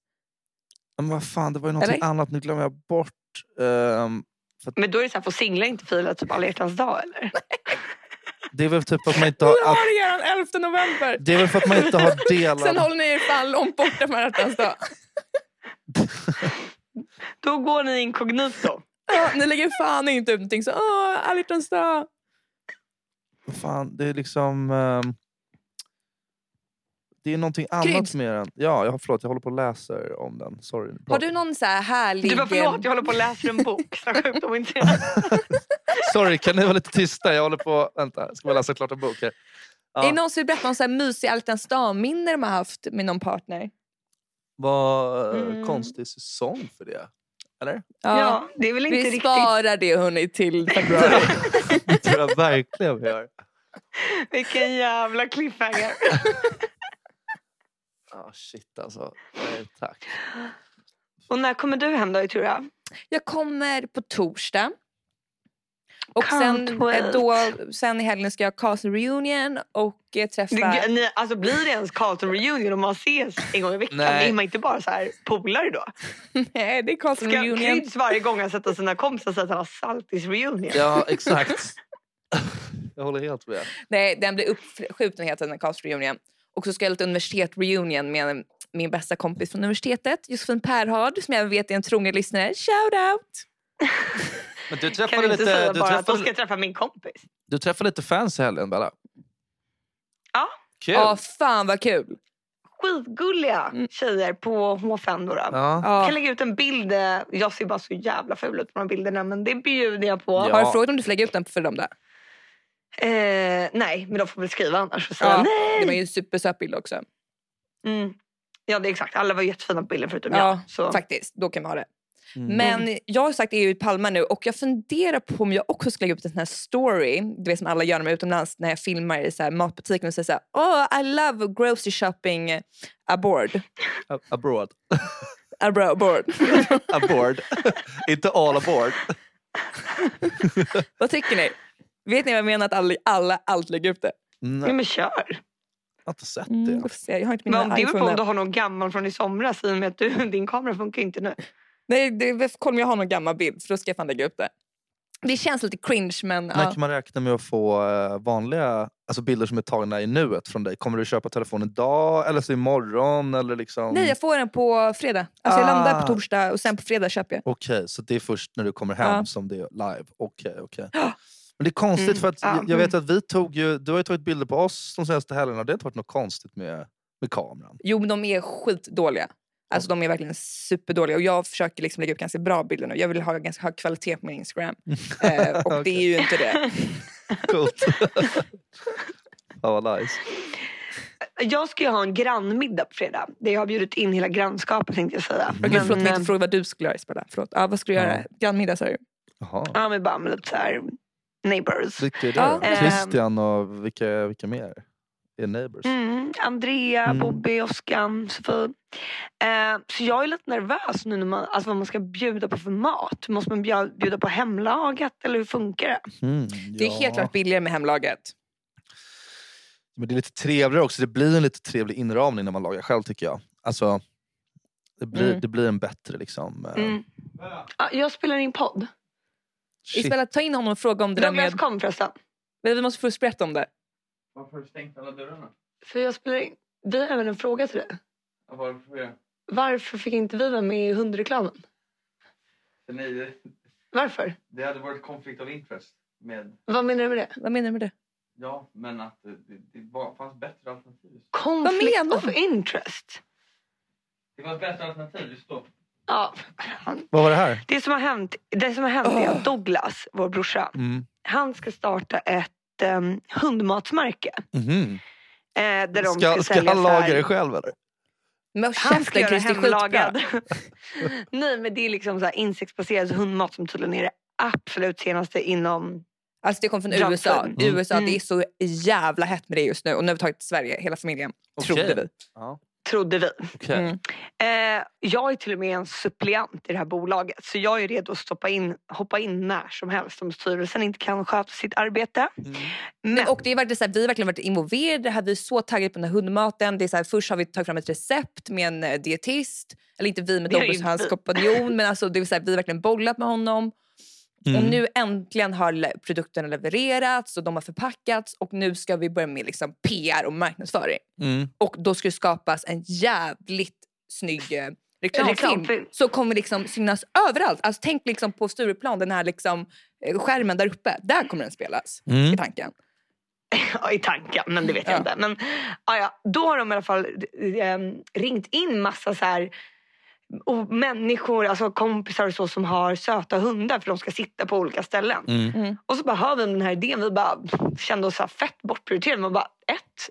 A: men vad fan, det var ju någonting
C: Eller?
A: annat, nu glömmer jag bort. Ehm,
B: Men då är det så här, får singlar inte fira typ alla hjärtans dag eller?
A: det är väl typ att man inte har... Att,
C: har eran 11 november!
A: det är väl för att man inte har
C: Sen
A: delat...
C: håller ni er fan långt borta från hjärtans dag.
B: Då går ni inkognito.
C: Ja, ni lägger fan inte ut någonting så åh, alla hjärtans dag.
A: Fan, det är liksom... ehm, det är någonting annat
C: Krydd.
A: med den. Ja, jag, förlåt, jag håller på och läser om den. Sorry.
C: Har du någon så här härlig...
B: Du bara förlåt, jag håller på och läser en bok. Så sjukdom inte jag.
A: Sorry, kan ni vara lite tysta? Jag håller på... Vänta, ska bara läsa klart en bok här.
C: Är det någon som vill berätta om så här mysiga alla hjärtans dag-minner de har haft med någon partner?
A: Vad eh,
B: Mm.
A: konstig säsong för det. Eller?
B: Ja, det är väl inte
C: Vi
B: riktigt.
C: sparar det hörni till februari.
A: Det tror jag verkligen vi gör.
B: Vilken jävla cliffhanger.
A: Ah, shit alltså. Nej, tack.
B: Och när kommer du hem då i Tura?
C: Jag kommer på torsdag. Och
B: Can't
C: sen,
B: wait.
C: eh, då, sen i helgen ska jag ha Castle Reunion och eh, träffa...
B: Det- ni- Alltså blir det ens Carlton reunion om man ses en gång i veckan?
A: Nej.
B: Är man inte bara så här polare då?
C: Nej, det är Castle
B: Ska
C: Reunion.
B: Kryds varje gång han sätter sina kompisar så att han har saltis reunion?
A: Ja, exakt. Jag håller helt med.
C: Nej, den blir uppskjuten heter den, Castle Reunion. Och så ska jag ha lite universitet reunion med en- min bästa kompis från universitetet, Josefin Perhard, som jag vet är en trogen lyssnare. Shout out!
A: Men du
B: Kan du
A: träffade,
B: inte
A: lite,
B: säga
A: du,
B: bara att då
A: träffade,
B: ska jag träffa min kompis?
A: du träffade lite fans i helgen, Bella.
B: Ja.
A: Kul.
C: Ja, fan vad kul!
B: Skitgulliga
C: Mm.
B: tjejer på H5 då. då.
A: Ja.
B: Jag
C: Ja.
B: kan lägga ut en bild. eh, Jag ser bara så jävla ful ut på de här bilderna men det bjuder jag på.
A: Ja.
C: Har du frågat om du får lägga ut den för dem där?
B: Eh, nej, men de får väl skriva annars och säga nej.
C: Det var ju en supersöt bild också.
B: Mm. Ja, det är exakt. Alla var jättefina på bilden förutom
C: Ja,
B: jag. Så.
C: faktiskt. Då kan man ha det.
A: Mm.
C: Men jag har sagt EU i Palma nu och jag funderar på om jag också ska lägga upp en sån här story, du vet som alla gör när man är utomlands när jag filmar i så här matbutiken och säger så här, oh I love grocery shopping aboard.
A: A- Abroad.
C: Abro- aboard.
A: Aboard. Inte all aboard.
C: vad tycker ni? Vet ni vad jag menar att alla, alla allt lägger upp det?
A: Nej,
B: Ja,
A: jag
B: men kör.
A: har inte sett
C: Mm,
A: det.
C: får se. jag har inte
B: Men om
C: mina
B: det beror på om
C: iPhone.
B: du
C: än.
B: har någon gammal från i somras i och med att du, din kamera funkar inte nu.
C: Nej, det, kolla om jag har någon gammal bild för då ska jag fan lägga upp det. Det känns lite cringe men
A: När
C: ja.
A: kan man räkna med att få eh, vanliga alltså bilder som är tagna i nuet från dig? Kommer du köpa telefonen idag eller så imorgon? Eller liksom...
C: Nej, jag får den på fredag. Alltså Jag landar
A: Ah.
C: på torsdag och sen på fredag köper jag.
A: Okej, så det är först när du kommer hem
C: Ja.
A: som det är live. Okej, okej.
C: Ja.
A: Men det är konstigt
B: Mm,
A: för att
B: ja,
A: jag vet att vi tog ju, du har ju tagit bilder på oss de senaste helgerna. Det har inte varit något konstigt med, med kameran.
C: Jo, men de är skitdåliga. Alltså de är verkligen superdåliga och jag försöker liksom lägga upp ganska bra bilder nu. Jag vill ha ganska hög kvalitet på min Instagram. Eh, och det
A: Okej.
C: är ju inte det.
A: Coolt. Fan vad nice.
B: Jag ska ju ha en grannmiddag på fredag. Där jag har bjudit in hela grannskapet tänkte jag säga.
A: Okej,
C: Okej, förlåt, men jag
B: eh,
C: inte fråga vad du skulle göra Isabella. Förlåt. Ja, vad skulle du
A: Ja.
C: göra? Grannmiddag sa du?
A: Jaha.
B: Ja men bara med lite såhär neighbors.
A: Vilka är det
C: Ja,
A: då?
B: ehm.
A: Christian och vilka, vilka mer? är Neighbours.
B: Mm, Andrea,
A: Mm.
B: Bobby, Oskar, Sofie. Eh, så jag är lite nervös nu när man, alltså vad man ska bjuda på för mat. Måste man bjuda, bjuda på hemlagat eller hur funkar det?
A: Mm,
C: Det är helt
A: ja.
C: klart billigare med hemlaget.
A: Men det är lite trevligare också. Det blir en lite trevlig inramning när man lagar själv tycker jag. Alltså, det blir,
C: Mm.
A: det blir en bättre liksom... eh,
B: Mm. Ja, jag spelar in podd.
A: shit.
C: Isabella, ta in honom och fråga om det där
B: Douglas
C: med...
B: kom förresten.
C: Men Vi måste först berätta om det.
D: Varför stängde alla dörrarna?
B: För jag spelar in. Vi har även en fråga till dig.
D: Ja, Varför det?
B: Varför fick inte vi vara med i hundreklamen?
D: För nej, det-
B: Varför?
D: det hade varit konflikt av interest med...
B: Vad menar du med det?
C: Vad menar du med det?
D: Ja, men att det, det, det var, fanns bättre alternativ.
B: Conflict
C: menar
B: of
C: du?
B: interest.
D: Det fanns bättre alternativ just då.
B: Ja,
A: Vad var det här?
B: det som har hänt, det som har hänt är att Douglas, vår brorsa,
A: Mm.
B: han ska starta ett um, hundmatsmärke.
A: Mhm.
B: Eh, där de ska,
A: Ska, ska
B: sälja
A: han
B: så här-
A: laga det själv eller?
C: Men
B: Han ska
C: käften,
B: göra
C: Chris, det är skitbra.
B: hemlagad. Nej men det är liksom så här insektsbaserad hundmat som tydligen är det absolut senaste inom...
C: Alltså det kom från
B: Drunk
C: USA.
B: food.
A: Mm.
C: USA
B: Mm.
C: Det är så jävla hett med det just nu. Och nu har vi tagit till Sverige, hela familjen.
A: Okej.
C: Trodde vi.
A: Ja.
B: Trodde vi.
A: okej.
C: Mm.
B: Eh, jag är till och med en suppleant i det här bolaget så jag är redo att stoppa in, hoppa in när som helst om styrelsen inte kan sköta sitt arbete.
A: Mm.
B: Men
C: Och det är verkligen så här, vi har verkligen varit involverade. i Det här, vi är så taggade på den här hundmaten. Det är så här, först har vi tagit fram ett recept med en eh, dietist. Eller inte vi, med
B: Det är
C: Douglas
B: ju
C: och hans
B: vi.
C: kompanjon. Men alltså, det är så här, vi har verkligen bollat med honom. Och
A: Mm.
C: nu äntligen har le- produkterna levererats och de har förpackats. Och nu ska vi börja med liksom PR och marknadsföring.
A: Mm.
C: Och då ska det skapas en jävligt snygg eh, reklamfilm.
B: reklamfilm.
C: Så kommer liksom synas överallt. Alltså, tänk liksom på Stureplan, den här liksom, eh, skärmen där uppe. Där kommer den spelas. I
A: Mm.
C: tanken.
B: Ja, i tanken, men det vet jag
C: Ja.
B: inte. Men ja, ja, då har de i alla fall eh, ringt in massa så här och människor, alltså kompisar och så som har söta hundar för de ska sitta på olika ställen.
A: Mm.
B: Och så bara hör vi om den här idén. Vi bara kände oss så här fett bortprioriterade. Man bara ett,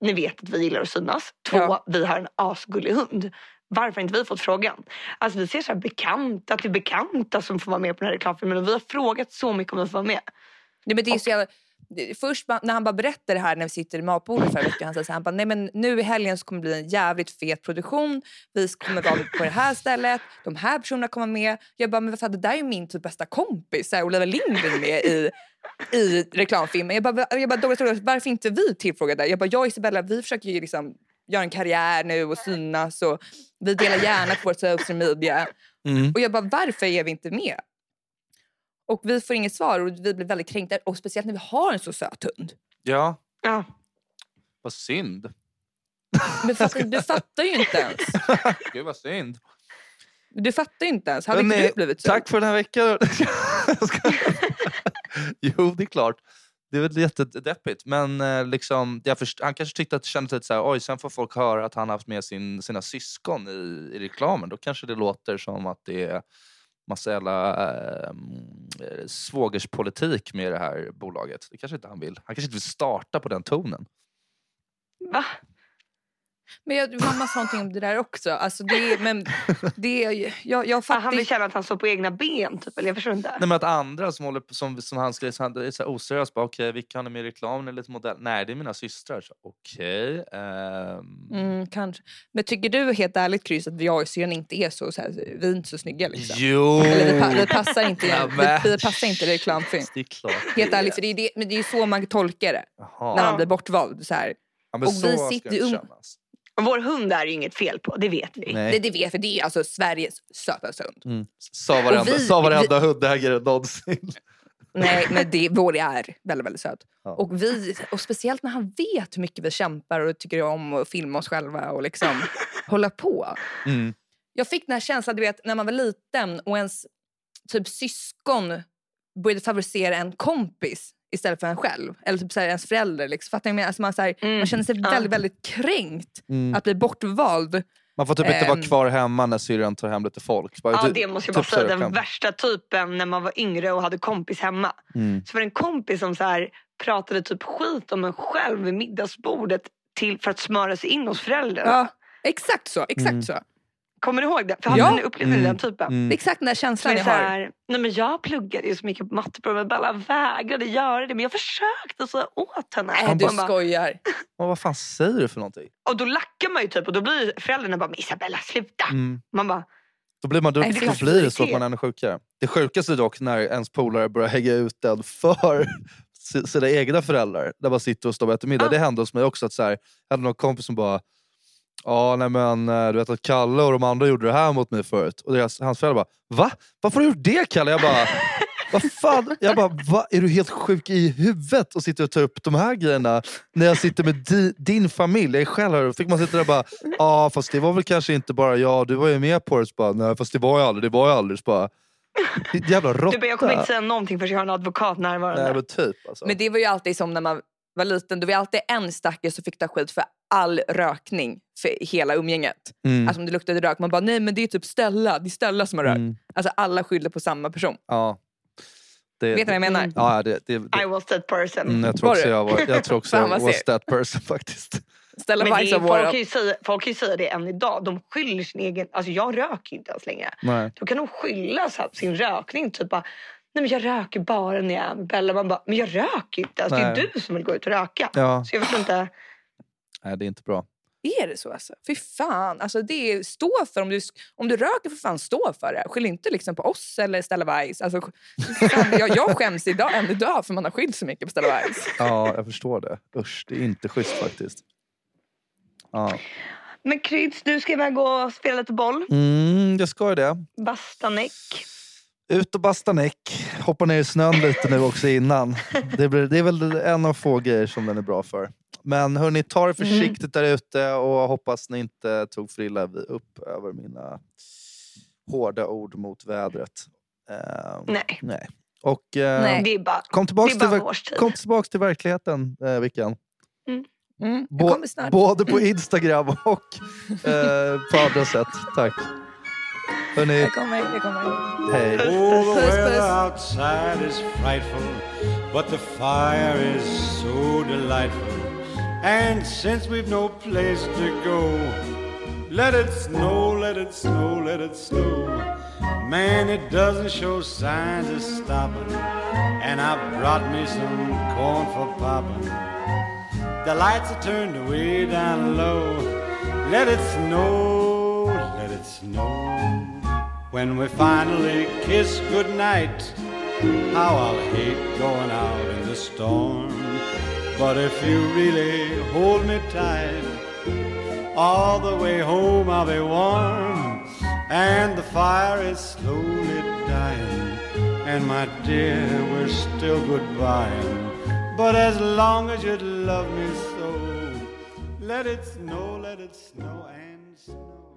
B: ni vet att vi gillar att synas. Två,
C: Ja.
B: vi har en asgullig hund. Varför har inte vi fått frågan? Alltså vi ser så här bekanta till bekanta som får vara med på den här reklamfilmen. Och vi har frågat så mycket om vi får vara med.
C: Nej, men det är så jävla... det- Först ba- när han bara berättar det här när vi sitter i matbordet förra veckan. Han säger så här, han bara, nej men nu i helgen så kommer det bli en jävligt fet produktion. Vi kommer vara på det här stället. De här personerna kommer med. Jag bara, men vad fan, det där är ju min typ bästa kompis. Så här, Olivia Lind är med i, i reklamfilmen. Jag bara, va- jag bara Douglas, Douglas, varför inte vi tillfrågade? Jag bara, jag och Isabella, vi försöker ju liksom göra en karriär nu och synas. Och vi delar gärna på vårt social media.
A: Mm.
C: Och jag bara, varför är vi inte med? Och vi får inget svar och vi blir väldigt kränkta. Och speciellt när vi har en så söt hund.
A: Ja,
B: Ja.
A: vad synd.
C: Men fattar, du fattar ju inte ens.
A: Gud vad synd.
C: Du fattar ju inte ens. Hade
A: Men,
C: inte du
A: eh,
C: blivit så?
A: Tack för den här veckan. Jag skojar. jo, det är klart. Det är väl jättedeppigt. Men eh, liksom, jag först- han kanske tyckte att det kändes lite så här, oj, sen får folk höra att han har haft med sin, sina syskon i, i reklamen. Då kanske det låter som att det är massa jävla eh, mm, svågerspolitik med det här bolaget. Det kanske inte han vill. Han kanske inte vill starta på den tonen.
B: Va?
C: Men jag, mamma sa någonting om det där också. Alltså det, är- men det, är ju- jag, jag
B: Fan, han
C: fattar
B: vill
C: ju.
B: känna att han står på egna ben typ. Eller jag förstår inte.
A: Nej, men att andra som, håller på, som, som han ska, som är så här oseriös. Bara, Okej, vilka har ni med i reklamen? Eller lite modell? Nej, det är mina systrar. Så, Okej. ehm,
C: Mm, kanske. Men tycker du helt ärligt Chris att jag och syrran inte är så, så här, vi är inte så snygga liksom?
A: Jo!
C: Eller vi, pa- vi passar inte,
A: Ja,
C: vi,
A: men-
C: vi passar inte i reklamfilm.
A: Det är klart.
C: Helt ärligt, för det är, det, men det är ju så man tolkar det. När
A: Jaha.
C: han blir bortvald. Så här.
A: Ja, men
C: och
A: så
C: vi
A: ska
C: sitter
A: det
C: ju- um-
A: kännas.
B: Vår hund är ju inget fel på, det vet vi.
A: Nej.
C: Det, det vet för det är alltså Sveriges sötaste hund.
A: Mm. Sa varenda,
C: vi-
A: sa varenda hundägare någonsin.
C: Nej, men det, Våli är väldigt, väldigt söt.
A: Ja.
C: Och, vi, och speciellt när han vet hur mycket vi kämpar och tycker om att filma oss själva och liksom hålla på.
A: Mm.
C: Jag fick den här känslan, du vet, när man var liten och ens typ syskon började favorisera en kompis istället för en själv. Eller typ så här, ens förälder. Liksom. Fattar jag? Alltså man, så här,
B: Mm.
C: man känner sig
B: Ja.
C: väldigt, väldigt kränkt
A: Mm.
C: att bli bortvald.
A: Man får typ inte vara
C: Ehm.
A: kvar hemma när syrran tar hem lite folk. Bara,
B: Ja,
A: du-
B: det måste jag bara
A: typ så här
B: säga. Den
A: skämt.
B: värsta typen när man var yngre och hade kompis hemma.
A: Mm.
B: Så var det en kompis som så här, pratade typ skit om en själv vid middagsbordet till, för att smöra sig in hos föräldrarna.
C: Ja, exakt så. Exakt
A: Mm.
C: så.
B: Kommer du ihåg det? För hade
C: Ja.
B: ni upplevt mm.
A: Mm.
B: den typen?
C: Det är exakt den här känslan
B: Men
C: jag
B: så
C: har.
B: här, nej men jag pluggade ju så mycket på matteprovet men Bella vägrade göra det. Men jag försökte så åt henne.
C: Nej,
B: och,
C: du
B: man bara,
C: skojar.
A: Och vad fan säger du för någonting?
B: och då lackar man ju typ och då blir föräldrarna bara men Isabella sluta.
A: Mm.
B: Man bara
A: Då blir, man, då,
C: Nej, det är
A: då
B: klart.
A: blir det så att man är ännu sjukare. Det sjukaste är dock när ens polare börjar hänga ut den för si- sina egna föräldrar. Där man sitter och står och äter middag.
B: Ah.
A: Det hände hos mig också. Att så här, jag hade någon kompis som bara Ja, nej men eh, du vet att Kalle och de andra gjorde det här mot mig förut. Och deras, hans föräldrar bara Va? Varför har du gjort det Kalle? Jag bara Vad fan? Jag bara Va? Är du helt sjuk i huvudet och sitter och tar upp de här grejerna när jag sitter med di, din familj? Jag är själv här. Då fick man sitta där och bara Ja, fast det var väl kanske inte bara jag. Du var ju med på det. Så bara, nej, fast det var jag aldrig. Det var jag aldrig. Så bara, ditt jävla
B: du
A: råtta.
B: bara jag kommer inte säga någonting förrän jag har en advokat närvarande.
A: Nej, men typ alltså.
C: Men det var ju alltid som när man var liten. Då var det alltid en stackare som fick ta skit för all rökning för hela umgänget.
A: Mm,
C: Alltså om det luktade rök. Man bara, nej men det är typ Stella. Det är Stella som har rökt.
A: mm,
C: Alltså alla skyller på samma person.
A: ja. Det,
C: Vet ni vad jag menar?
B: Mm.
A: Ja, det, det, det,
B: I was that person.
A: mm, jag tror
C: Var
A: också
C: du?
A: jag var, jag tror också
C: Fan,
A: jag
C: vad
A: was
C: ser-
A: that person faktiskt.
C: Stella
B: Men det
C: Weiss
B: är,
C: av våra...
B: folk, kan ju säga, folk kan ju säga det än idag. De skyller sin egen... Alltså jag röker inte ens längre.
A: Nej.
B: Då kan de skylla så här, på sin rökning. Typ bara, nej men jag röker bara när jag är med Bella. Man bara, men jag röker inte. Alltså, det är
A: Nej.
B: du som vill gå ut och röka.
A: Ja,
B: Så jag förstår inte.
A: nej, det är inte bra.
C: Är det så alltså? Fy fan. Alltså det är, stå för om du, om du röker för fan stå för det. Skyll inte liksom på oss eller Stella Weiss. Alltså, sk- fan, jag, jag skäms idag, än idag för man har skyllt så mycket på Stella Weiss.
A: Ja, jag förstår det. Usch, det är inte schysst faktiskt. Ja.
B: Men Kryds, du ska iväg och spela lite boll.
A: Mm, jag ska ju det.
B: Bastanäck.
A: Ut och basta näck. Hoppa ner i snön lite nu också innan. Det, blir, det är väl en av få grejer som den är bra för. Men hörni, ta det försiktigt där ute och hoppas ni inte tog för illa vi- upp över mina hårda ord mot vädret. Eh,
B: Nej.
A: nej. Och eh,
C: Nej.
B: Det är bara,
A: kom
B: det
A: tillbaks
B: är
A: till,
B: bara en
A: verk-
B: årstid.
A: kom tillbaks till verkligheten, eh, Vickan.
C: Mm. Jag
A: Bå-
C: kommer snart.
A: Både på Instagram och eh, på andra sätt. Tack. Hörni,
C: Jag kommer, jag kommer.
A: hej.
E: Oh, the
C: Puss,
E: weather
C: puss.
E: outside is frightful, but the fire is so delightful. And since we've no place to go, let it snow, let it snow, let it snow. Man, it doesn't show signs of stopping. And I brought me some corn for popping. The lights are turned way down low. Let it snow, let it snow. When we finally kiss goodnight, how I'll hate going out in the storm. But if you really hold me tight, all the way home I'll be warm. And the fire is slowly dying. And my dear, we're still goodbying. But as long as you love me so, let it snow, let it snow and snow.